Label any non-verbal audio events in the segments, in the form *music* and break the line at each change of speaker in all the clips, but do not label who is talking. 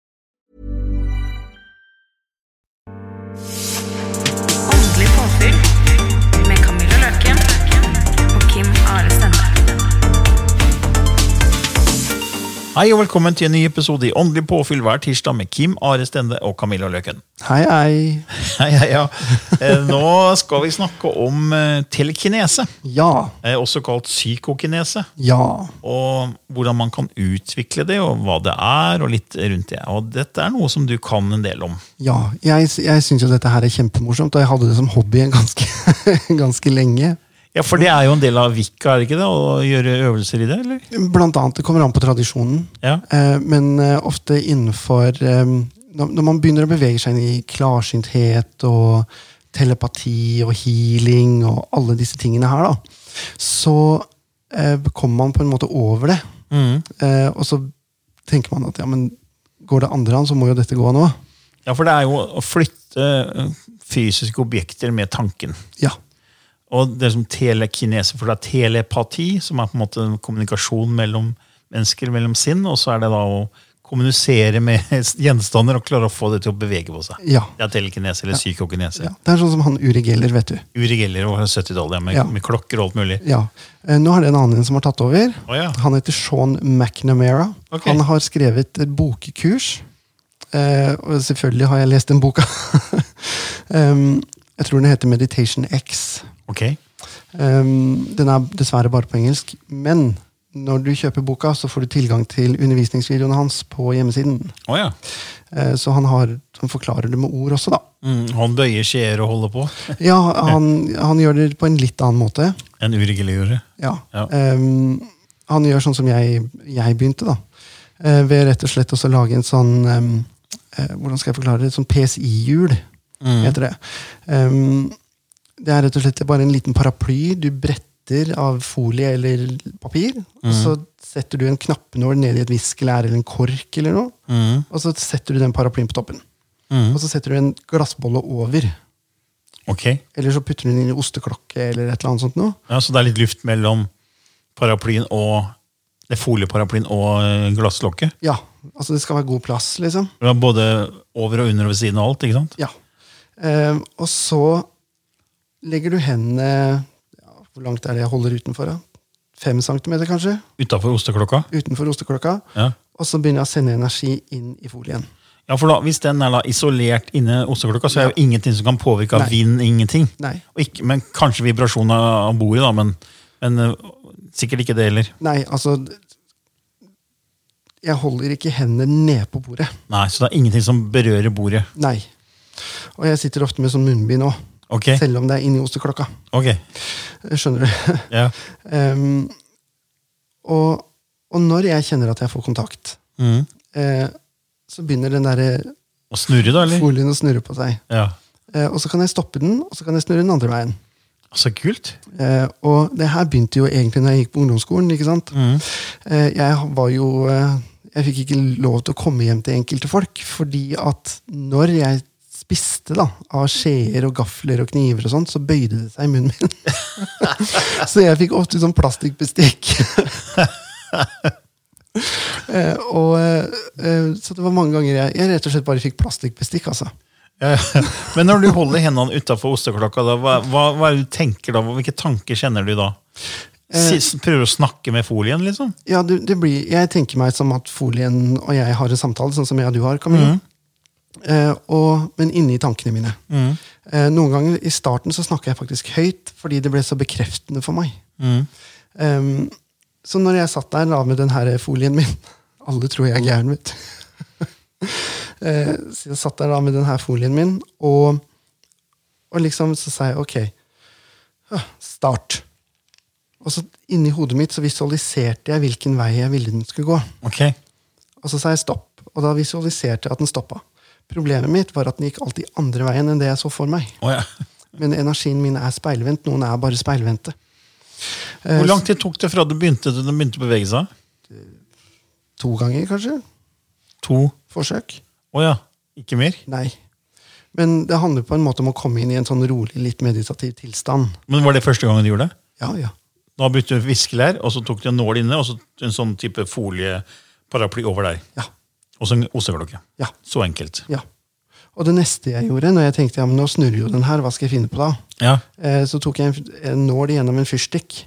Åndelig påfyll med Camilla Løken og Kim Are Stende.
Hei og velkommen til en ny episode i Åndelig påfyll hver tirsdag med Kim Are Stende og Camilla Løken. *laughs*
Hei, hei.
Hei, hei, ja. Eh, Nå skal vi snakke om eh, telekinese,
Ja,
eh, også kalt psykokinese.
ja.
Og hvordan man kan utvikle det, og hva det er, og litt rundt det. Og dette er noe som du kan en del om.
ja. Jeg, jeg syns jo dette her er kjempemorsomt, og jeg hadde det som hobby en ganske, *laughs* ganske lenge.
Ja, for det er jo en del av vikka, er det ikke det? Å gjøre øvelser i det, eller?
Blant annet, det kommer an på tradisjonen,
Ja.
eh, men eh, ofte innenfor eh, Når når man begynner å bevege seg inn i klarsynthet og telepati og healing og alle disse tingene her, da, så eh, kommer man på en måte over det. Eh, og så tenker man at ja, men går det andre an, så må jo dette gå nå.
Ja, for det er jo å flytte eh, fysiske objekter med tanken.
Ja.
Og det som telekinese, for det er telepati, som er på en måte en kommunikasjon mellom mennesker, mellom sinn, og så er det da å kommunisere med *laughs* gjenstander og klare å få det til å bevege på seg.
Ja.
Det er telekinese eller psykokinese.
Ja, det er sånn som han Uri Geller, vet du.
Uri Geller over 70-tallet, ja, med,
Ja.
med klokker og alt mulig.
Ja. Eh, Nå er det en annen som har tatt over.
Å, ja.
Han heter Sean McNamara.
Ok.
Han har skrevet et bokkurs. Eh, og selvfølgelig har jeg lest den boka. *laughs* Em, jeg tror den heter Meditation X.
Ok.
Em, den er dessverre bare på engelsk. Men når du kjøper boka, så får du tilgang til undervisningsvideoene hans på hjemmesiden.
Å ja.
Eh, så han, har, han forklarer det med ord også, da.
Mm, han bøyer skjeer og holder på.
Ja, han, han gjør det på en litt annen måte.
En Uri Geller gjorde.
Ja.
Ja.
Ehm, han gjør sånn som jeg, jeg begynte, da. Eh, ved rett og slett også å lage en sånn ehm, eh, Hvordan skal jeg forklare det? Sånn PSI-hjul, heter det. Ehm, det er rett og slett bare en liten paraply du bretter av folie eller papir. Og så setter du en knappenål ned i et viskelær eller en kork, eller noe, og så setter du den paraplyen på toppen. Og så setter du en glassbolle over.
Ok.
Eller så putter du den inn i osteklokke eller et eller annet sånt noe.
Ja, så det er litt luft mellom paraplyen og det er folieparaplyen og eh, glasslokket.
Ja, altså det skal være god plass, liksom.
Det var Både over og under og ved siden av alt, ikke sant?
Ja. Ehm, og så legger du hendene ja, Hvor langt er det jeg holder utenfor? da? Fem centimeter, kanskje?
Utafor osteklokka.
Utenfor osteklokka.
Ja.
Og så begynner jeg å sende energi inn i folien.
Ja, for da, Hvis den er da isolert inne osteklokka, så er det jo ingenting som kan påvirke av
Nei.
vind. ingenting.
Nei.
Og ikke, men Kanskje vibrasjon av av bordet, da, men, men eh, sikkert ikke det heller.
Nei, altså Jeg holder ikke hendene ned på bordet.
Nei, Så det er ingenting som berører bordet.
Nei. Og jeg sitter ofte med sånn munnbind òg.
Ok,
Selv om det er inni osteklokka.
ok.
Skjønner du? *laughs*
Ja.
Ehm, og, og når jeg kjenner at jeg får kontakt,
Mm.
eh, så begynner den derre
Og snurre, da? eller?
folien å snurre på seg.
Ja.
Eh, og så kan jeg stoppe den, og så kan jeg snurre den andre veien.
Så kult.
Eh, og det her begynte jo egentlig når jeg gikk på ungdomsskolen. ikke sant? Eh, jeg var jo eh, Jeg fikk ikke lov til å komme hjem til enkelte folk, fordi at når jeg spiste da, av skjeer og gafler og kniver, og sånt, så bøyde det seg i munnen min. *laughs* så jeg fikk ofte sånn plastikkbestikk. *laughs* Eh, og, eh, eh, så det var mange ganger jeg, jeg rett og slett bare fikk plastikkbestikk. altså.
Ja. Men når du holder hendene utafor osteklokka, da, hva, hva, hva er det du tenker da? Hvilke tanker kjenner du da? Si- Prøver du å snakke med folien, liksom?
Ja, du, det blir, jeg tenker meg som at folien og jeg har en samtale, sånn som jeg og du har, Camille. Eh, og, men inni tankene mine. Eh, noen ganger i starten så snakka jeg faktisk høyt, fordi det ble så bekreftende for meg. Ehm, så når jeg satt der da med den her folien min *laughs* Alle tror jeg er gæren, vet du. *laughs* Eh, så jeg satt der da med den her folien min, og, og liksom så sa jeg ok, ah, start. Og så inni hodet mitt så visualiserte jeg hvilken vei jeg ville den skulle gå.
Ok.
Og så sa jeg stopp, og da visualiserte jeg at den stoppa. Problemet mitt var at den gikk alltid andre veien enn det jeg så for meg.
Å, ja.
Men energien min er speilvendt, noen er bare speilvendte.
Hvor lang tid tok det fra du begynte til den begynte å bevege seg?
To ganger, kanskje?
To?
Forsøk?
Å ja. Ikke mer?
Nei. Men det handler på en måte om å komme inn i en sånn rolig, litt meditativ tilstand.
Men Var det første gangen du gjorde det?
Ja, ja.
Da brukte du viskelær, og så tok du en nål inne, og så en sånn type folieparaply over der.
Ja.
Og så en osteklokke.
Ja.
Så enkelt.
ja. Og det neste jeg gjorde, når jeg tenkte ja, men nå snurrer jo den her, hva skal jeg finne på da?
Ja.
Eh, så tok jeg en, f- en nål gjennom en fyrstikk,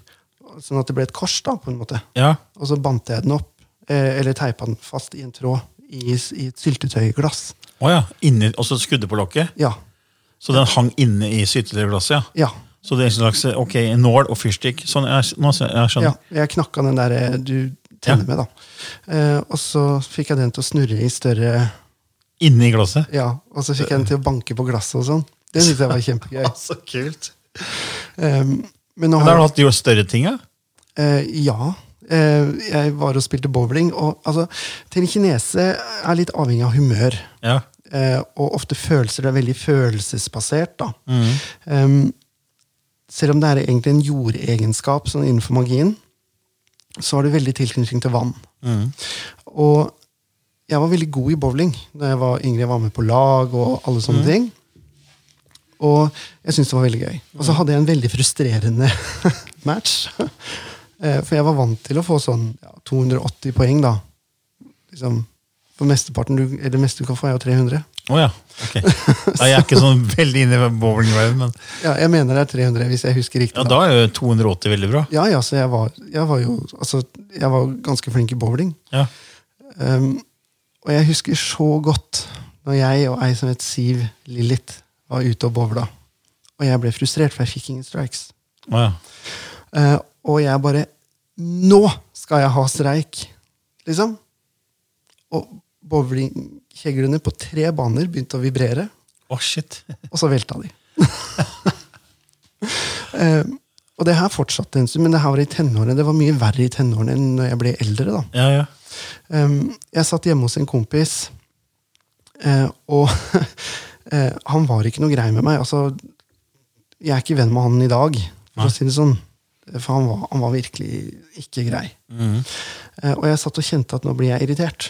sånn at det ble et kors, da, på en måte.
Ja.
Og så bandt jeg den opp, eh, eller teipa den fast i en tråd i, s- i et syltetøyglass.
Å ja. Inni, og så skudde på lokket.
Ja.
Så den hang inne i sytetøyglasset, ja.
Ja.
Så det er en slags ok, en nål og fyrstikk. Sånn, jeg, nå, skjø- jeg
ja.
skjønner.
Jeg knakka den der eh, du
Ja.
tenner med, da. Eh, og så fikk jeg den til å snurre i større
Inni glasset.
Ja, og så fikk jeg den til å banke på glasset og sånn. Det syntes jeg var
*laughs*
kjempegøy.
Så kult.
Em, men nå
Men har
har
du hatt de større tinga?
Eh, ja. Eh, jeg var og spilte bowling, og altså Telekinese er litt avhengig av humør.
Ja.
Eh, og ofte følelser. Det er veldig følelsesbasert, da. Em, selv om det er egentlig en jordegenskap sånn innenfor magien, så har det veldig tilknytning til vann.
Mm.
Og jeg var veldig god i bowling da jeg var yngre. Jeg var med på lag og alle sånne ting. Og jeg syntes det var veldig gøy. Og så hadde jeg en veldig frustrerende *laughs* match. Eh, For jeg var vant til å få sånn ja, 280 poeng, da. Liksom, for mesteparten du, eller det meste du kan få, er jo 300.
Å ja. Ok. Ja, jeg er ikke sånn veldig inne i bowlingverdenen, men
Ja, jeg mener det er 300, hvis jeg husker riktig.
ja, da er jo 280 veldig bra.
Ja, ja, så jeg var, jeg var jo altså, jeg var ganske flink i bowling.
Ja.
Um, og jeg husker så godt når jeg og ei som het Siv Lillit, var ute og bowla. Og jeg ble frustrert, for jeg fikk ingen strikes.
Å ja.
Eh, og jeg bare Nå skal jeg ha streik! Liksom. Og bowlingkjeglene på tre baner begynte å vibrere,
Å, shit.
og så velta de. *laughs* Eh, og det her fortsatte en stund, men det her var i tenårene. Det var mye verre i tenårene enn når jeg ble eldre. da.
Ja, ja.
Um, jeg satt hjemme hos en kompis, eh, og *laughs* eh, han var ikke noe grei med meg. Altså, jeg er ikke venn med han i dag, for å si det sånn. For han var, han var virkelig ikke grei. Eh, og jeg satt og kjente at nå blir jeg irritert.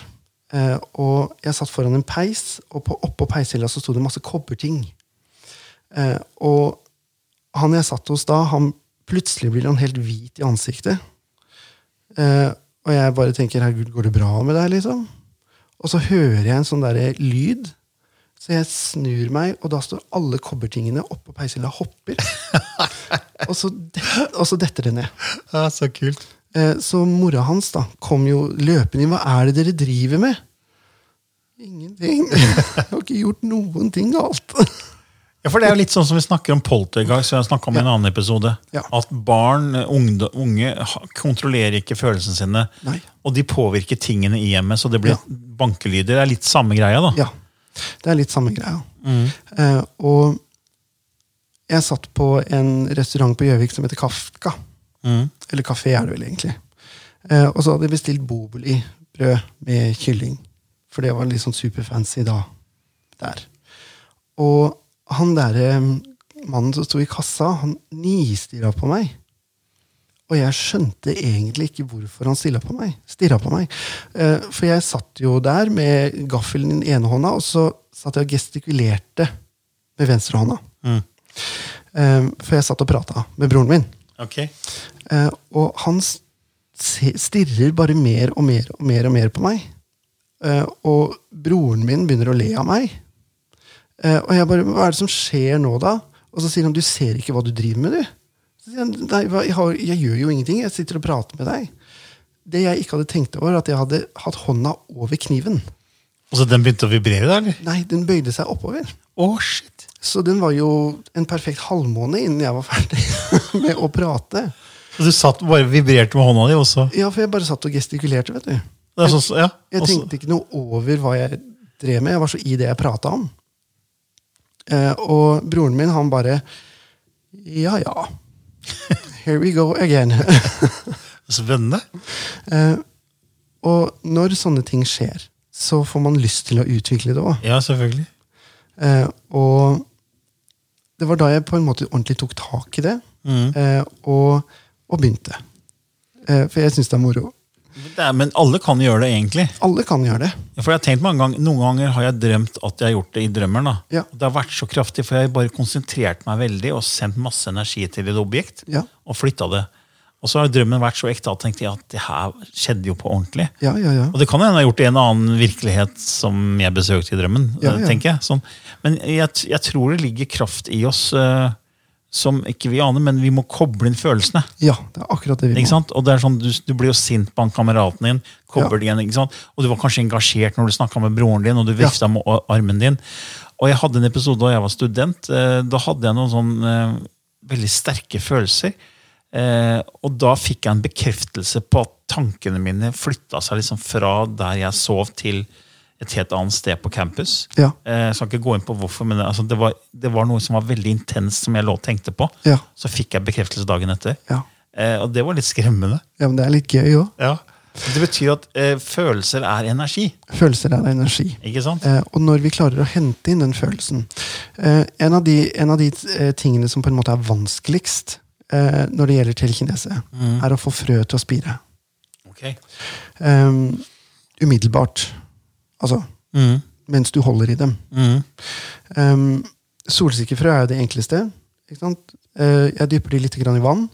Eh, og jeg satt foran en peis, og på, oppå peishylla så sto det masse kobberting. Eh, og han jeg satt hos da, han plutselig blir han helt hvit i ansiktet. Eh, og jeg bare tenker herregud, går det bra med deg? liksom? Og så hører jeg en sånn der lyd. Så jeg snur meg, og da står alle kobbertingene oppå peishylla og hopper. og, så det- og så detter det ned.
ja så kult.
Eh, Så mora hans da kom jo løpende inn. Hva er det dere driver med? Ingenting. *laughs* Jeg har ikke gjort noen ting galt.
Ja, for Det er jo litt sånn som vi snakker om poltergeist, som jeg snakket om i en annen episode.
Ja.
At barn, unge, unge ha- kontrollerer ikke følelsene sine.
Nei.
Og de påvirker tingene i hjemmet, så det blir
Ja.
bankelyder. Det er litt samme greia, da.
Ja. Det er litt samme greia. Eh, og jeg satt på en restaurant på Gjøvik som heter Kafka. Eller kafé er det vel egentlig. Eh, og så hadde jeg bestilt bobolibrød med kylling. For det var litt sånn superfancy da. Der. Og han derre mannen som sto i kassa, han nistirra på meg. Og jeg skjønte egentlig ikke hvorfor han stilla på meg. Stirra på meg. Eh, For jeg satt jo der med gaffelen i den ene hånda, og så satt jeg og gestikulerte med venstrehånda. Eh, For jeg satt og prata med broren min.
Ok.
Eh, Og han s- se- stirrer bare mer og mer og mer og mer på meg. Eh, Og broren min begynner å le av meg. Eh, Og jeg bare Hva er det som skjer nå, da? Og så sier han du ser ikke hva du driver med, du. Så sier han, Nei, hva- jeg, har, jeg gjør jo ingenting. Jeg sitter og prater med deg. Det jeg ikke hadde tenkt over, er at jeg hadde hatt hånda over kniven.
Og så den begynte å vibrere, da? eller?
Nei, den bøyde seg oppover.
Å, shit.
Så den var jo en perfekt halvmåne innen jeg var ferdig *laughs* med å prate.
Så du satt og bare vibrerte med hånda di også?
Ja, for jeg bare satt og gestikulerte, vet du.
Det er sånn, så- ja.
Jeg
også-
tenkte ikke noe over hva jeg drev med. Jeg var så i det jeg prata om. Eh, og broren min, han bare Ja, ja. Here we go again. *laughs*
Spennende.
eh, og når sånne ting skjer, så får man lyst til å utvikle det òg.
Ja, selvfølgelig.
Eh, og det var da jeg på en måte ordentlig tok tak i det,
Mm.
eh, og, og begynte. Eh, for jeg syns det er moro.
Det er, men alle kan gjøre det, egentlig.
Alle kan gjøre det.
For jeg har tenkt mange ganger, Noen ganger har jeg drømt at jeg har gjort det i drømmen. da.
Ja.
Og Det har vært så kraftig, for jeg har bare konsentrert meg veldig og sendt masse energi til et objekt.
Ja.
Og flytta det. Og så har drømmen vært så ekte at jeg tenkte at det her skjedde jo på ordentlig.
Ja, ja, ja.
Og det kan hende jeg har gjort det i en annen virkelighet som jeg besøkte i drømmen.
Ja, ja.
tenker jeg. Sånn. Men jeg, t- jeg tror det ligger kraft i oss eh, som ikke vi aner, men vi må koble inn følelsene.
Ja, det er akkurat det vi
Ikke sant? Og det er sånn, du, du blir jo sint på han kameraten din, kobler det igjen, ikke sant? og du var kanskje engasjert når du snakka med broren din, og du vifta med å- armen din. Og jeg hadde en episode da jeg var student. Eh, da hadde jeg noen sånn eh, veldig sterke følelser. Eh, og da fikk jeg en bekreftelse på at tankene mine flytta seg liksom fra der jeg sov, til et helt annet sted på campus.
Ja.
Eh, jeg skal ikke gå inn på hvorfor, men altså, det, var, det var noe som var veldig intenst, som jeg lå og tenkte på.
Ja.
Så fikk jeg bekreftelse dagen etter.
Ja.
Eh, og det var litt skremmende.
Ja, men det er litt gøy òg.
Det betyr at eh, følelser er energi.
Følelser er energi.
Ikke sant?
Eh, og når vi klarer å hente inn den følelsen eh, En av de, en av de eh, tingene som på en måte er vanskeligst eh, når det gjelder telekinese,
Mm.
er å få frø til å spire.
Ok.
Eh, umiddelbart. Altså
Mm.
mens du holder i dem.
Mm.
Um, solsikkefrø er jo det enkleste. Ikke sant? Eh, jeg dypper de litt grann i vann,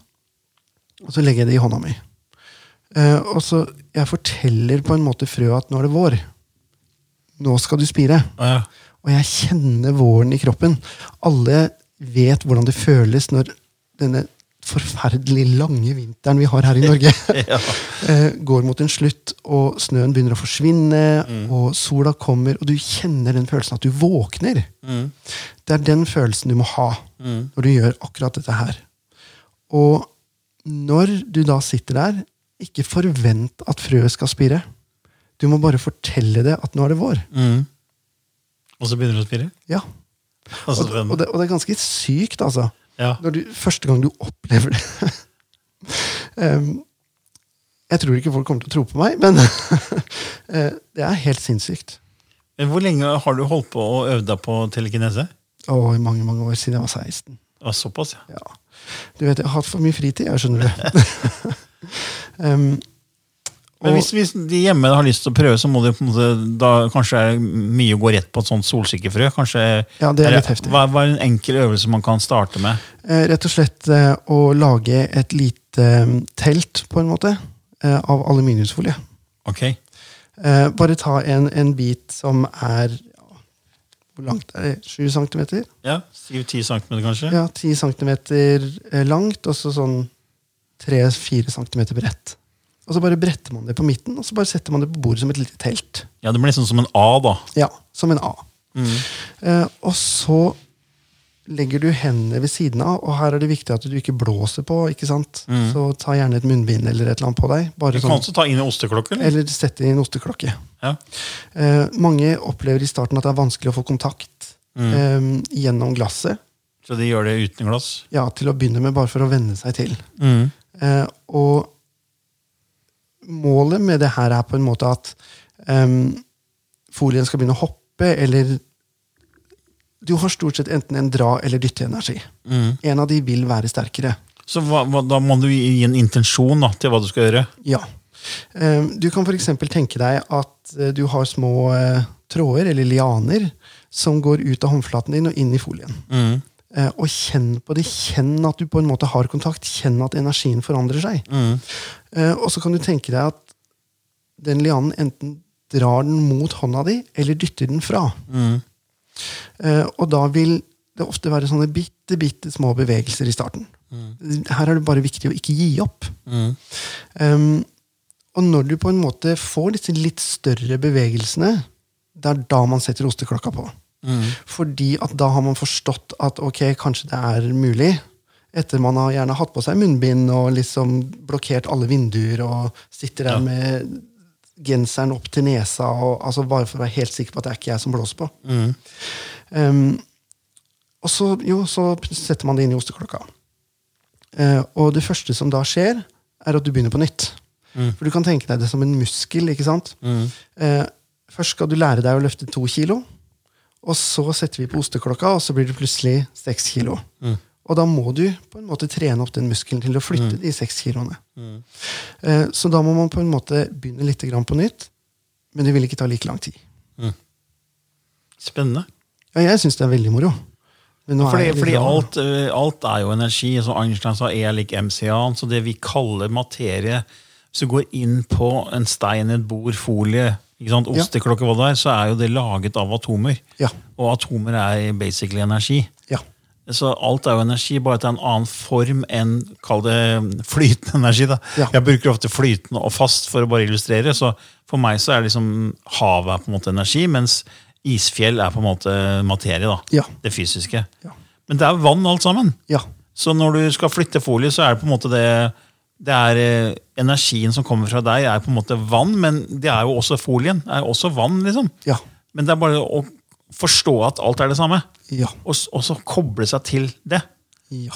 og så legger jeg det i hånda mi. Eh, og så Jeg forteller på en måte frøa at nå er det vår. Nå skal du spire.
Å, ja.
Og jeg kjenner våren i kroppen. Alle vet hvordan det føles når denne forferdelig lange vinteren vi har her i Norge, *laughs* eh, går mot en slutt, og snøen begynner å forsvinne, og sola kommer, og du kjenner den følelsen at du våkner. Det er den følelsen du må ha når du gjør akkurat dette her. Og når du da sitter der, ikke forvent at frøet skal spire. Du må bare fortelle det at nå er det vår.
Og så begynner du å spire?
Ja,
Altså,
og, og, det, og det er ganske sykt, altså.
ja.
Når du, første gang du opplever det. *laughs* Em, jeg tror ikke folk kommer til å tro på meg, men *laughs* eh, det er helt sinnssykt.
Men hvor lenge har du holdt på å øve deg på telekinese?
Og i mange mange år siden jeg var 16.
Ja, såpass, ja.
Ja. Du vet, Jeg har hatt for mye fritid, jeg skjønner det. *laughs* Em,
Men
og-
hvis, hvis de hjemme har lyst til å prøve, så må det på en måte, da kanskje er mye å gå rett på et sånt solsikkefrø? Kanskje,
Ja, det er litt heftig.
Hva, hva er en enkel øvelse man kan starte med?
Eh, rett og slett eh, å lage et lite eh, telt, på en måte, eh, av aluminiumsfolie.
Ok.
Eh, bare ta en, en bit som er ja, Hvor langt er det? 7 centimeter?
Ja, 7-10 cm kanskje?
Ja, 10 cm langt, og så sånn 3-4 cm bredt. Og så bare bretter man det på midten, og så bare setter man det på bordet som et lite telt.
Ja, det blir liksom som en A, da.
Ja, Som en A. Eh, og så legger du hendene ved siden av, og her er det viktig at du ikke blåser på. ikke sant? Så ta gjerne et munnbind eller et eller annet på deg.
Du
Bare
kan
sånn,
også ta inn i osteklokker. eller?
eller sette inn en osteklokke.
Ja.
Eh, mange opplever i starten at det er vanskelig å få kontakt eh, gjennom glasset.
Så de gjør det uten glass?
Ja, til å begynne med, bare for å venne seg til. Eh, og målet med det her er på en måte at em, folien skal begynne å hoppe, eller Du har stort sett enten en dra- eller dytteenergi. En av de vil være sterkere.
Så hva, hva, da må du gi en intensjon da, til hva du skal gjøre.
Ja. Em, Du kan f.eks. tenke deg at eh, du har små eh, tråder, eller lianer, som går ut av håndflaten din og inn i folien. Eh, Og kjenn på det. Kjenn at du på en måte har kontakt. Kjenn at energien forandrer seg. Eh, Og så kan du tenke deg at den lianen enten drar den mot hånda di, eller dytter den fra. Eh, Og da vil det ofte være sånne bitte, bitte små bevegelser i starten. Her er det bare viktig å ikke gi opp. Um, og når du på en måte får disse litt større bevegelsene, det er da man setter osteklokka på. Fordi at da har man forstått at ok, kanskje det er mulig. Etter man har gjerne hatt på seg munnbind og liksom blokkert alle vinduer og sitter der med genseren opp til nesa, og, altså bare for å være helt sikker på at det er ikke jeg som blåser på. Um, og så, jo, så setter man det inn i osteklokka. Eh, og det første som da skjer, er at du begynner på nytt. For du kan tenke deg det som en muskel. ikke sant? Eh, først skal du lære deg å løfte to kilo, og så setter vi på osteklokka, og så blir det plutselig seks kilo. Og da må du på en måte trene opp den muskelen til å flytte de seks kiloene. Eh, så da må man på en måte begynne litt grann på nytt, men det vil ikke ta like lang tid.
Spennende.
Ja, jeg syns det er veldig moro. Men nå er
Fordi,
jeg litt
fordi
glad.
alt, eh, alt er jo energi. Som Einstein sa, E er lik MCA-en. Så det vi kaller materie Hvis du går inn på en stein, et bord, folie, ikke sant,
Ja.
osteklokke, hva det er, så er jo det laget av atomer.
Ja.
Og atomer er basically energi.
Ja.
Så alt er jo energi, bare at det er en annen form enn kall det flytende energi. da.
Ja.
Jeg bruker ofte flytende og fast for å bare illustrere. så For meg så er liksom havet er på en måte energi, mens isfjell er på en måte materie. da.
Ja.
Det fysiske.
Ja.
Men det er vann alt sammen.
Ja.
Så når du skal flytte folie, så er det på en måte det det er eh, Energien som kommer fra deg, er på en måte vann, men det er jo også folien. er jo også vann, liksom.
Ja.
Men det er bare å forstå at alt er det samme,
Ja.
og, s- og så koble seg til det.
Ja.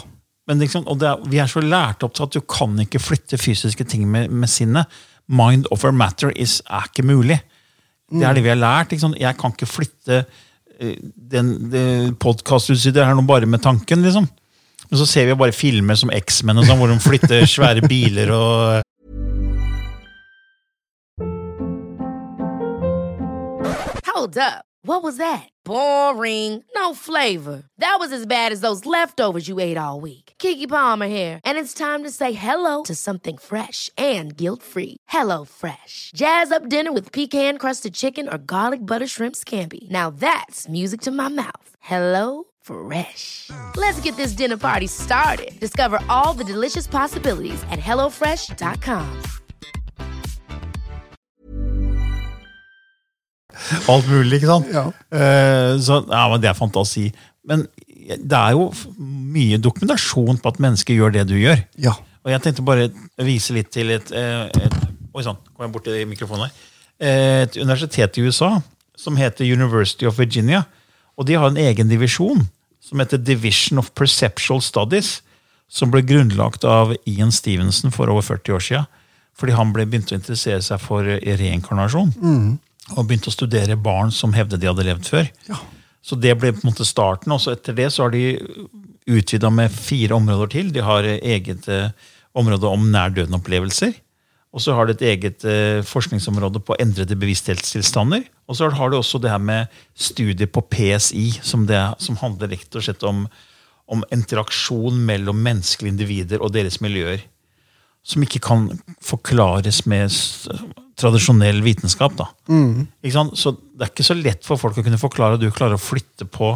Men liksom, og det er, vi er så lært opp til at du kan ikke flytte fysiske ting med, med sinnet. Mind over matter is, er ikke mulig. Det er det vi har lært. Ikke sant? Jeg kan ikke flytte eh, den, det podkastutstyret her nå bare med tanken, liksom. Men så ser vi bare filmer som X-Men, og sånn, hvor de flytter svære biler og
Hold up. What was that? Boring. No flavor. That was as bad as those leftovers you ate all week. Kiki Palmer here, and it's time to say hello to something fresh and guilt-free. Hello Fresh. Jazz up dinner with pecan-crusted chicken or garlic butter shrimp scampi. Now that's music to my mouth. Hello Fresh. Let's get this dinner party started. Discover all the delicious possibilities at hellofresh.com.
eh, alt mulig, ikke sant?
Ja.
Eh, så ja, men det er fantasi. Men det er jo f- mye dokumentasjon på at mennesker gjør det du gjør.
Ja.
Og jeg tenkte bare vise litt til et, eh, et Oi sann, kom jeg borti mikrofonen her. Eh, Et universitet i USA som heter University of Virginia. Og de har en egen divisjon som heter Division of Perceptual Studies. Som ble grunnlagt av Ian Stevenson for over 40 år siden. Fordi han ble begynte å interessere seg for eh, reinkarnasjon. Og begynte å studere barn som hevde de hadde levd før. Så det ble på en måte starten. Og så etter det så har de utvida med fire områder til. De har eh, eget eh, område om nær-døden-opplevelser. Og så har de et eget eh, forskningsområde på endrede bevissthetstilstander. Og så har de også det her med studier på PSI, som, det, som handler rett og slett om, om interaksjon mellom menneskelige individer og deres miljøer. Som ikke kan forklares med s- tradisjonell vitenskap. da. Ikke sant? Så det er ikke så lett for folk å kunne forklare at du klarer å flytte på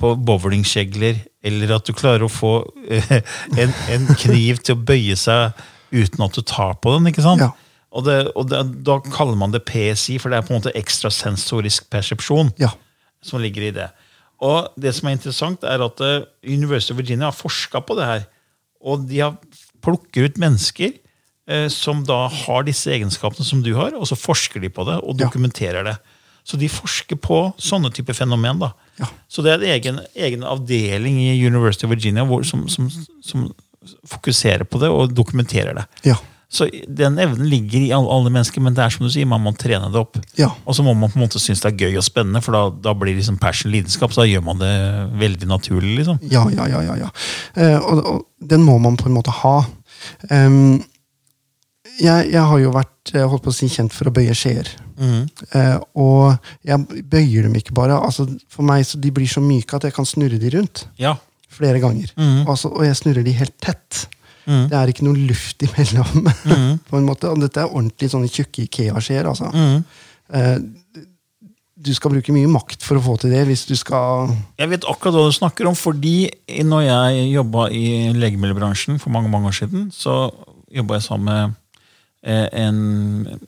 på bowlingkjegler, eller at du klarer å få eh, en, en kniv til å bøye seg uten at du tar på den. ikke sant?
Ja.
Og, det, og det, da kaller man det PSI, for det er på en måte ekstrasensorisk persepsjon
Ja.
som ligger i det. Og det som er interessant, er at eh, University of Virginia har forska på det her. Og de har plukker ut mennesker eh, som da har disse egenskapene som du har, og så forsker de på det og
Ja.
dokumenterer det. Så de forsker på sånne type fenomen. da.
Ja.
Så det er en egen, egen avdeling i University of Virginia hvor, som, som, som fokuserer på det og dokumenterer det.
Ja.
Så den evnen ligger i alle, alle mennesker, men det er som du sier, man må trene det opp.
Ja.
Og så må man på en måte synes det er gøy og spennende, for da, da blir liksom passion lidenskap. Så da gjør man det veldig naturlig. liksom.
Ja, ja, ja. ja, ja. Eh, og, og den må man på en måte ha. Em, jeg, jeg har jo vært eh, holdt på å si, kjent for å bøye skjeer.
Mm.
Eh, og jeg bøyer dem ikke bare. Altså, for meg så De blir så myke at jeg kan snurre de rundt
Ja.
flere ganger.
Mm.
Altså, og jeg snurrer de helt tett. Det er ikke noe luft imellom. *laughs*
Mm.
på en måte. Og dette er ordentlig sånne tjukke Ikea-skjeer. altså.
Mm.
Eh, du skal bruke mye makt for å få til det hvis du skal
Jeg vet akkurat hva du snakker om, fordi når jeg jobba i legemiddelbransjen for mange mange år siden, så jobba jeg sammen med eh, en,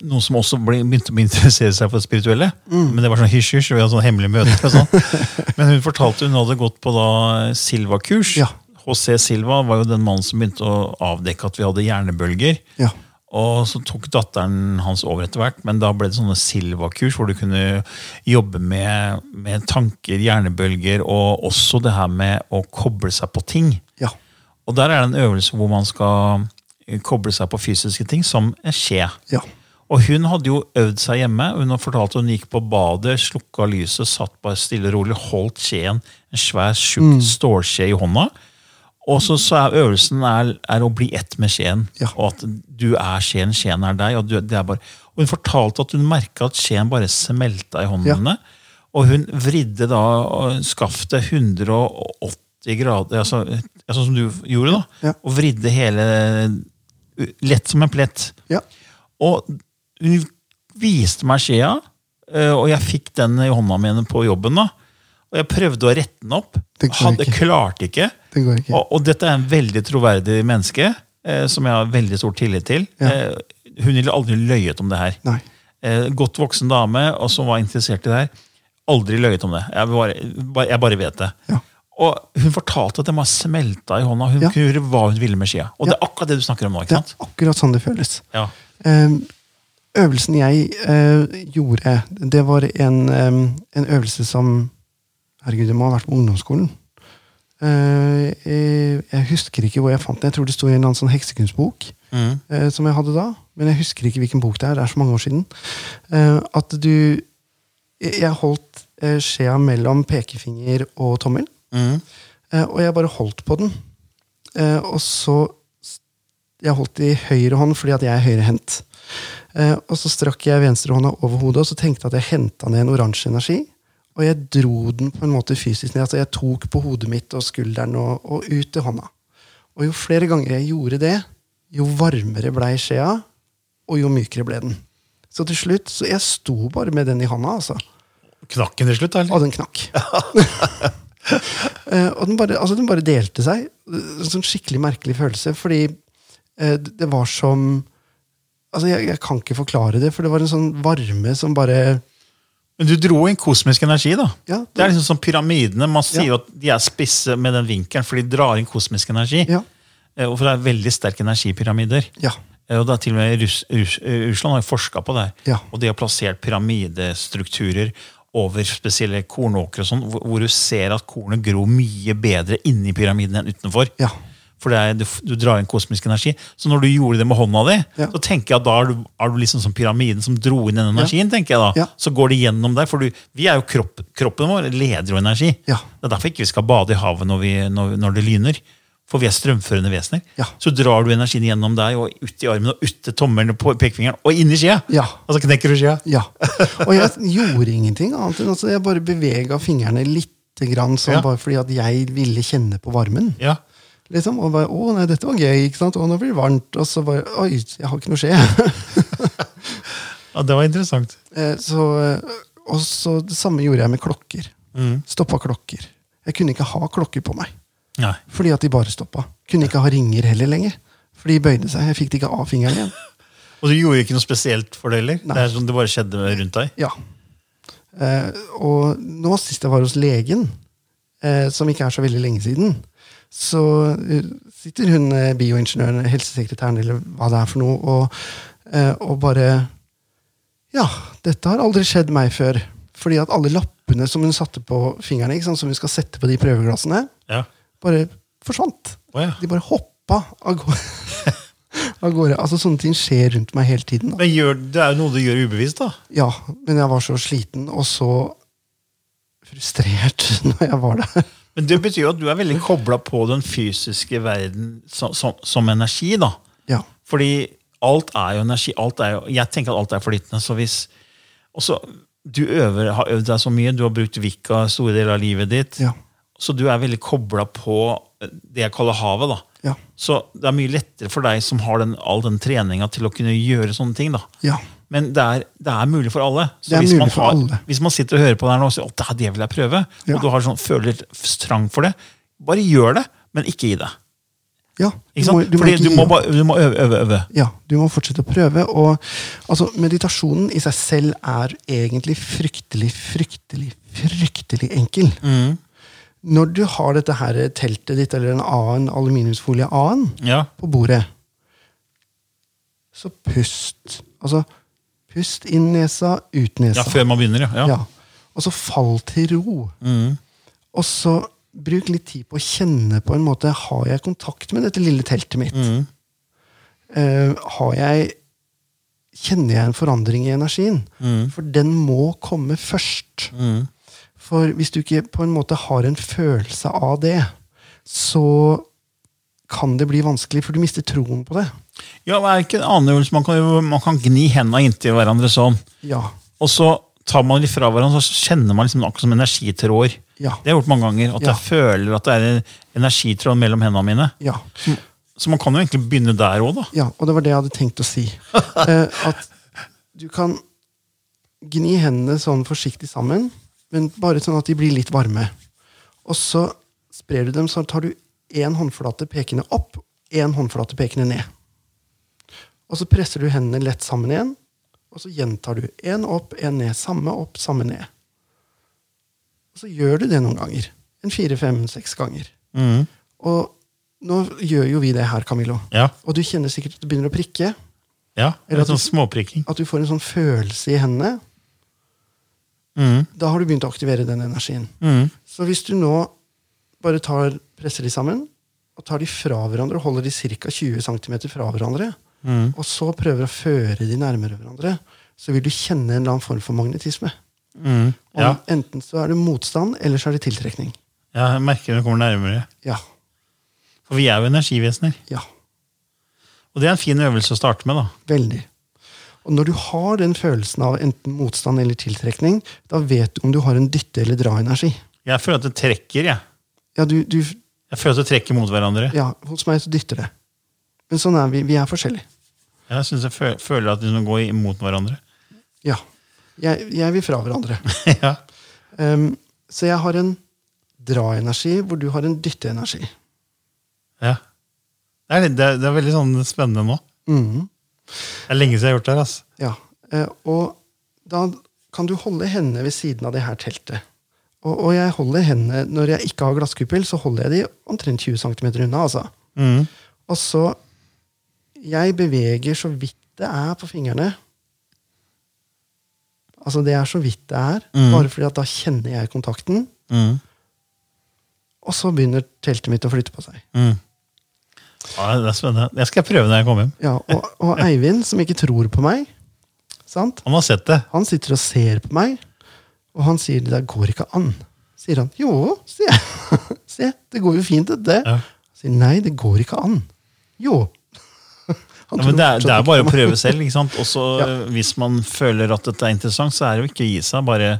noen som også ble, begynte å interessere seg for det spirituelle. Men det var sånn hysj-hysj, vi hadde sånn hemmelig møte. og Sånn. *laughs* Men hun fortalte hun hadde gått på da Silva-kurs.
Ja.
HC Silva var jo den mannen som begynte å avdekke at vi hadde hjernebølger.
Ja.
Og så tok datteren hans over etter hvert, men da ble det sånne Silva-kurs hvor du kunne jobbe med, med tanker, hjernebølger, og også det her med å koble seg på ting.
Ja.
Og der er det en øvelse hvor man skal eh, koble seg på fysiske ting, som en skje.
Ja.
Og hun hadde jo øvd seg hjemme. Hun har fortalt at hun gikk på badet, slukka lyset, satt bare stille og rolig, holdt skjeen, en svær, tjukk
Mm.
stålskje i hånda. Og så, så er øvelsen er, er å bli ett med skjeen,
Ja.
og at du er skjeen, skjeen er deg. Og, du, det er bare, og hun fortalte at hun merka at skjeen bare smelta i hånden
Ja.
henne. Og hun vridde da og skaftet 180 grader, altså, ja, sånn som du gjorde, da.
Ja.
Og vridde hele lett som en plett.
Ja.
Og hun viste meg skjea, eh, og jeg fikk den i hånda mi på jobben. da. Og jeg prøvde å rette den opp.
Det går
Hadde
ikke.
klarte ikke.
Det går ikke.
Og, og dette er en veldig troverdig menneske, eh, som jeg har veldig stor tillit til.
Ja.
Eh, hun ville aldri løyet om det her.
Nei.
Eh, godt voksen dame og som var interessert i det her. Aldri løyet om det. Jeg bare, bare- jeg bare vet det.
Ja.
Og hun fortalte at den var smelta i hånda. Hun
Ja.
kunne gjøre hva hun ville med skia. Og det er akkurat det du snakker om nå.
Det
ikke
er
sant?
akkurat sånn det føles.
Ja.
Ehm, øvelsen jeg eh, gjorde, det var en, ehm, en øvelse som Herregud, det må ha vært på ungdomsskolen. Eh, jeg, jeg husker ikke hvor jeg fant den. Jeg tror det sto i en eller annen sånn heksekunstbok.
Mm.
eh, som jeg hadde da, men jeg husker ikke hvilken bok det er. Det er så mange år siden. Eh, at du Jeg jeg holdt eh, skjea mellom pekefinger og tommel. Eh, og jeg bare holdt på den. Eh, og så s- Jeg holdt i høyre hånd fordi at jeg er høyrehendt. Eh, og så strakk jeg venstrehånda over hodet og så tenkte jeg at jeg henta ned en oransje energi. Og jeg dro den på en måte fysisk ned. altså Jeg tok på hodet mitt og skulderen og, og ut til hånda. Og jo flere ganger jeg gjorde det, jo varmere blei skjea, og jo mykere ble den. Så til slutt, så jeg sto bare med den i hånda, altså.
Knakken til slutt, da? eller?
Og den knakk. Eh, og den bare, altså, den bare delte seg. En sånn skikkelig merkelig følelse, fordi eh, det det var som Altså, jeg, jeg kan ikke forklare det, for det var en sånn varme som bare
Men du dro inn kosmisk energi, da.
Ja,
det, er liksom som pyramidene. Man sier
Ja.
jo at de er spisse med den vinkelen, for de drar inn kosmisk energi.
Ja.
Eh, Og for det er veldig sterke energipyramider.
Ja.
Eh, Og det er til og med Rus, Rus, eh, Russland har jo forska på det. her.
Ja.
Og de har plassert pyramidestrukturer over spesielle kornåkre, og sånn, hvor- hvor du ser at kornet gror mye bedre inni pyramiden enn utenfor.
Ja.
For det er, du, f- du drar inn kosmisk energi. Så når du gjorde det med hånda di,
Ja.
så tenker jeg at da er du, er du liksom som pyramiden som dro inn den energien. tenker jeg da.
Ja.
Så går det gjennom der. For du, vi er jo kropp, kroppen vår leder jo energi.
Ja.
Det er derfor ikke vi skal bade i havet når, vi, når, når det lyner. For vi er strømførende vesener.
Ja.
Så drar du energien gjennom deg og ut i armen og ut til tommelen og på pekefingeren og inn i skjea.
Ja.
Og så knekker du skjea.
Ja. Og jeg gjorde ingenting annet enn altså, jeg bare bevega fingrene lite grann, sånn,
Ja.
bare fordi at jeg ville kjenne på varmen.
Ja.
Liksom, og bare, 'Å nei, dette var gøy.' ikke sant? Og nå blir det varmt. Og så bare 'Oi, jeg har ikke noe skje'. *laughs*
ja, det var interessant.
Eh, så, eh, og så det samme gjorde jeg med klokker. Stoppa klokker. Jeg kunne ikke ha klokker på meg.
Nei.
Fordi at de bare stoppa. Kunne ikke ha ringer heller lenger. For de bøyde seg. Jeg fikk det ikke av fingeren igjen.
Og du gjorde ikke noe spesielt for det heller?
Nei.
Det er som det bare skjedde rundt deg?
Ja. Eh, og nå sist jeg var hos legen, eh, som ikke er så veldig lenge siden, så eh, sitter hun eh, bioingeniøren, helsesekretæren, eller hva det er for noe, og, eh, og bare Ja, dette har aldri skjedd meg før. Fordi at alle lappene som hun satte på fingrene, ikke sant, som hun skal sette på de prøveglassene,
Ja.
bare forsvant.
Å ja.
De bare hoppa av gårde. *laughs* av gårde. Altså, sånne ting skjer rundt meg hele tiden. Da.
Men gjør, det er jo noe du gjør ubevisst, da.
Ja, men jeg var så sliten og så frustrert *laughs* når jeg var der.
Men det betyr jo at du er veldig kobla på den fysiske verden som, som, som energi, da.
Ja.
Fordi alt er jo energi. Alt er jo, jeg tenker at alt er flytende. så hvis... Og så, du øver, har øvd deg så mye, du har brukt Vika store deler av livet ditt.
Ja.
Så du er veldig kobla på det jeg kaller havet. da.
Ja.
Så det er mye lettere for deg som har den, all den treninga til å kunne gjøre sånne ting. da.
Ja.
Men det er, det er mulig for alle. Så
Det er
hvis,
mulig
man
for
har,
alle.
hvis man sitter og hører på det her nå og sier at det vil jeg prøve,
Ja.
og du har sånn, føler litt trang for det, bare gjør det, men ikke gi deg.
Ja,
Ikke sant? Fordi
ikke
du
gi
må,
opp.
bare, du må øve, øve, øve.
Ja, du må fortsette å prøve. Og altså, meditasjonen i seg selv er egentlig fryktelig, fryktelig, fryktelig enkel.
Mm.
Når du har dette her teltet ditt eller en annen aluminiumsfolie annen
Ja.
på bordet, så pust. Altså, pust inn nesa, ut
ja,
nesa.
før man begynner, ja. ja.
Ja. Og så fall til ro. Og så bruk litt tid på å kjenne på en måte Har jeg kontakt med dette lille teltet mitt? Eh, har jeg Kjenner jeg en forandring i energien? For den må komme først. For hvis du ikke på en måte har en følelse av det, så kan det bli vanskelig, for du mister troen på det.
Ja, det er ikke en annen øvelse. Man kan, jo- man kan gni hendene inntil hverandre sånn.
Ja.
Og så tar man litt fra hverandre, og så kjenner man liksom akkurat som energitråder.
Ja.
Det har jeg gjort mange ganger. At
Ja.
jeg føler at det er en energitråd mellom hendene mine.
ja.
Så man kan jo egentlig begynne der òg, da.
Ja, og det var det jeg hadde tenkt å si. Eh, at du kan gni hendene sånn forsiktig sammen, men bare sånn at de blir litt varme. Og så sprer du dem, så tar du én håndflate pekende opp, én håndflate pekende ned. Og så presser du hendene lett sammen igjen, og så gjentar du én opp, én ned. Samme opp, samme ned. Og så gjør du det noen ganger. En fire, fem, seks ganger. Og nå gjør jo vi det her, Camillo.
Ja.
Og du kjenner sikkert at du begynner å prikke.
Ja,
Eller
Eller
at du-
sånn småprikking.
At du får en sånn følelse i hendene. Da har du begynt å aktivere den energien.
Mm.
Så hvis du nå bare tar, presser de sammen, og tar de fra hverandre og holder de ca. 20 cm fra hverandre, og så prøver å føre de nærmere hverandre, så vil du kjenne en eller annen form for magnetisme. Og
Ja.
Enten så er det motstand, eller så er det tiltrekning.
Ja, Jeg merker det kommer nærmere.
Ja.
For vi er jo energivesener.
Ja.
Og det er en fin øvelse å starte med, da.
Veldig. Og når du har den følelsen av enten motstand eller tiltrekning, da vet du om du har en dytte- eller dra-energi.
Jeg føler at det trekker, jeg.
Ja, du, du,
Jeg føler at det trekker mot hverandre.
ja, hos meg så dytter det. Men sånn er vi. Vi er forskjellige.
Jeg synes jeg fø- føler at de går imot hverandre. *laughs*
Ja. Jeg, jeg vil fra hverandre.
ja.
Ehm, så jeg har en dra-energi, hvor du har en dytte-energi.
ja. Det, er, litt- det, er, det er veldig sånn spennende nå.
Mhm.
Det er lenge siden jeg har gjort det her. Altså.
Ja, eh, og da kan du holde hendene ved siden av det her teltet. Og, og jeg holder hendene, når jeg ikke har glasskuppel, så holder jeg de omtrent 20 cm unna. altså. Og så Jeg beveger så vidt det er på fingrene. Altså, det er så vidt det er,
Mm.
bare fordi at da kjenner jeg kontakten. Og så begynner teltet mitt å flytte på seg.
Ja, det er spennende. Det skal jeg prøve når jeg kommer hjem.
Ja, og, og Eivind, som ikke tror på meg sant?
Han har sett det.
Han sitter og ser på meg, og han sier det der går ikke an. Sier han. Jo, se, *laughs* se det går jo fint, dette.
Ja.
Sier nei, det går ikke an. Jo. *laughs* Han
Ja, men
tror
det, er,
fortsatt
det er
ikke
bare
på
å
meg.
prøve selv. ikke sant? Også *laughs*
Ja.
Hvis man føler at dette er interessant, så er det jo ikke å gi seg. bare...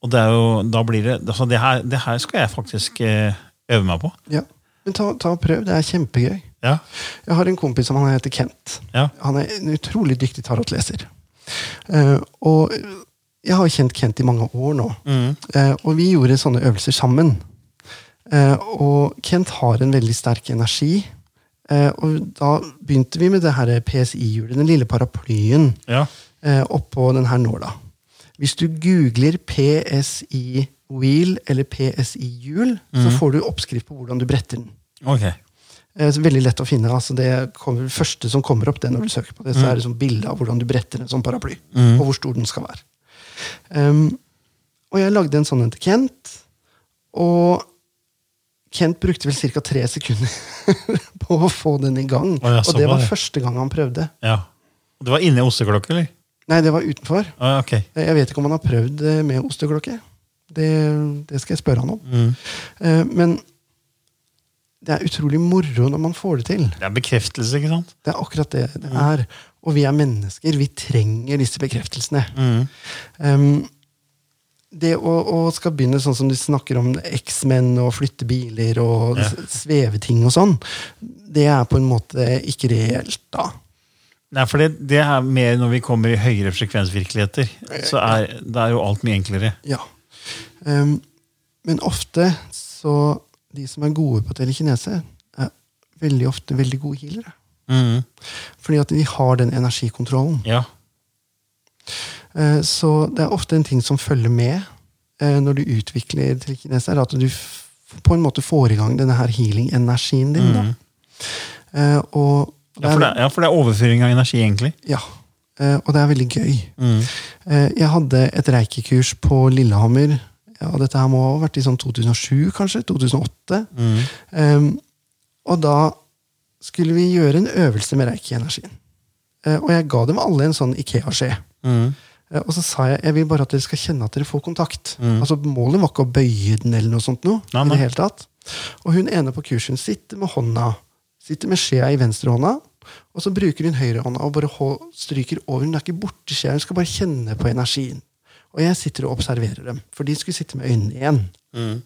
Og det er jo, da blir det, altså det, her, det her skal jeg faktisk eh, øve meg på.
Ja. Men ta, ta og prøv, det er kjempegøy.
Ja,
Jeg har en kompis som han heter Kent.
ja.
Han er en utrolig dyktig tarotleser. Eh, og jeg har kjent Kent i mange år nå. Eh, og vi gjorde sånne øvelser sammen. Eh, og Kent har en veldig sterk energi. Eh, og da begynte vi med det her PSI-hjulet, den lille paraplyen
ja.
eh, oppå den her nåla. Hvis du googler PSI wheel eller PSI hjul, så får du oppskrift på hvordan du bretter den.
Ok.
Eh, så Veldig lett å finne. altså Det kommer, det første som kommer opp, det når
Mm.
du søker på det, så er det sånn bilde av hvordan du bretter en sånn paraply. Og hvor stor den skal være. Ehm, og jeg lagde en sånn en til Kent. Og Kent brukte vel ca. tre sekunder *laughs* på å få den i gang.
Å, ja, så
og det
bra,
var
det.
første gang han prøvde.
ja. Og Det var inne i osteklokka, eller?
Nei, det var utenfor.
Ah, ok.
Eh, Jeg vet ikke om han har prøvd eh, med osteklokke. Det, det skal jeg spørre han om.
Mm.
Eh, Men det er utrolig moro når man får det til.
Det er bekreftelse, ikke sant?
Det er akkurat det det er. Og vi er mennesker. Vi trenger disse bekreftelsene.
Mm.
Um, det å, å skal begynne sånn som du snakker om eksmenn og flytte biler og
Ja.
s- sveveting og sånn, det er på en måte ikke reelt, da.
Nei, for det, det er mer når vi kommer i høyere frekvensvirkeligheter. Så er, det er jo alt mye enklere.
Ja. Um, men ofte så De som er gode på telekinese, er veldig ofte veldig gode healere.
Mm.
Fordi at vi har den energikontrollen.
Ja.
Eh, Så det er ofte en ting som følger med eh, når du utvikler telekinese, er at du f- på en måte får i gang denne her healing-energien din. Da. Eh, Og
Mm. Ja, for det, ja, for det er overføring av energi, egentlig.
ja, eh, og det er veldig gøy.
Mm.
Eh, Jeg hadde et reikekurs på Lillehammer. Ja, dette her må ha vært i sånn 2007, kanskje? 2008.
Mm.
Eh, og da skulle vi gjøre en øvelse med reiki-energien. Eh, og jeg ga dem alle en sånn Ikea-skje.
Mm.
Eh, og så sa jeg jeg vil bare at dere skal kjenne at dere får kontakt. Altså Målet var ikke å bøye den, eller noe sånt. Noe,
Mm. Nei,
i
nei.
det hele tatt. Og hun ene på kursen sitter med hånda, sitter med skjea i venstrehånda, og så bruker hun høyrehånda og bare hå- stryker over. Hun er ikke borti skjea, hun skal bare kjenne på energien. Og jeg sitter og observerer dem, for de skulle sitte med øynene igjen.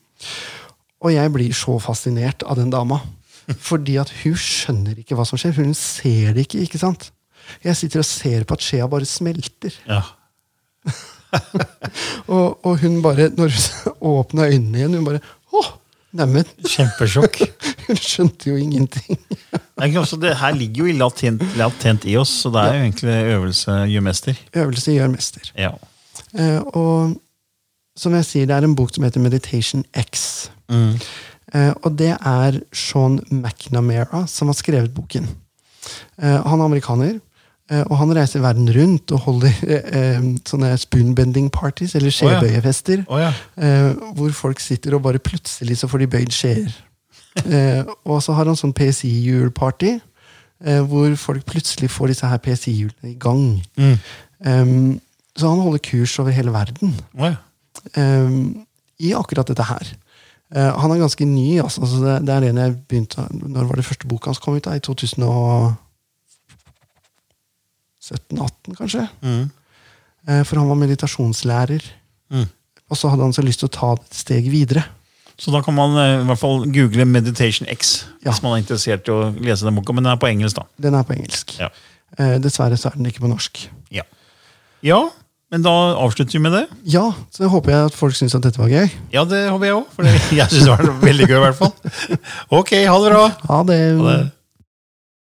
Og jeg blir så fascinert av den dama. Fordi at hun skjønner ikke hva som skjer. for Hun ser det ikke. ikke sant? Jeg sitter og ser på at skjea bare smelter.
Ja.
Og, og hun bare, når hun *laughs* åpna øynene igjen, hun bare Å! Neimen, *laughs*
Kjempesjokk.
hun skjønte jo ingenting.
Det, er ikke også, det her ligger jo i latent, latent i oss, så det er jo egentlig øvelse gjør mester.
Øvelse gjør mester.
Ja.
Eh, og som jeg sier, det er en bok som heter Meditation X. Eh, og det er Sean McNamara som har skrevet boken. Eh, han er amerikaner, eh, og han reiser verden rundt og holder eh, eh, sånne spoonbending parties, eller
ja.
skjebøyefester,
Å ja.
eh, hvor folk sitter og bare plutselig så får de bøyd skjeer. Eh, og så har han sånn PSI-hjulparty, eh, hvor folk plutselig får disse her PSI-hjulene i gang. Um, så han holder kurs over hele verden
Å ja.
um, i akkurat dette her. Eh, han er ganske ny. Altså, så det, det er en jeg begynte Når var det første boka hans kom ut? da? I 2017-18, kanskje?
Mm.
Eh, for han var meditasjonslærer. Og så hadde han så lyst til å ta det et steg videre.
Så da kan man eh, i hvert fall google 'Meditation X'
Ja.
hvis man er interessert i å lese den boka, men den er på engelsk, da.
Den er på engelsk.
Ja.
Eh, dessverre så er den ikke på norsk.
Ja, ja men da avslutter vi med det.
Ja, så håper jeg at folk syns at dette var gøy.
Ja, *laughs* det håper jeg òg, for det- jeg syns det var veldig gøy, i hvert fall. Ok, ha det bra.
Ha det.
Ha det.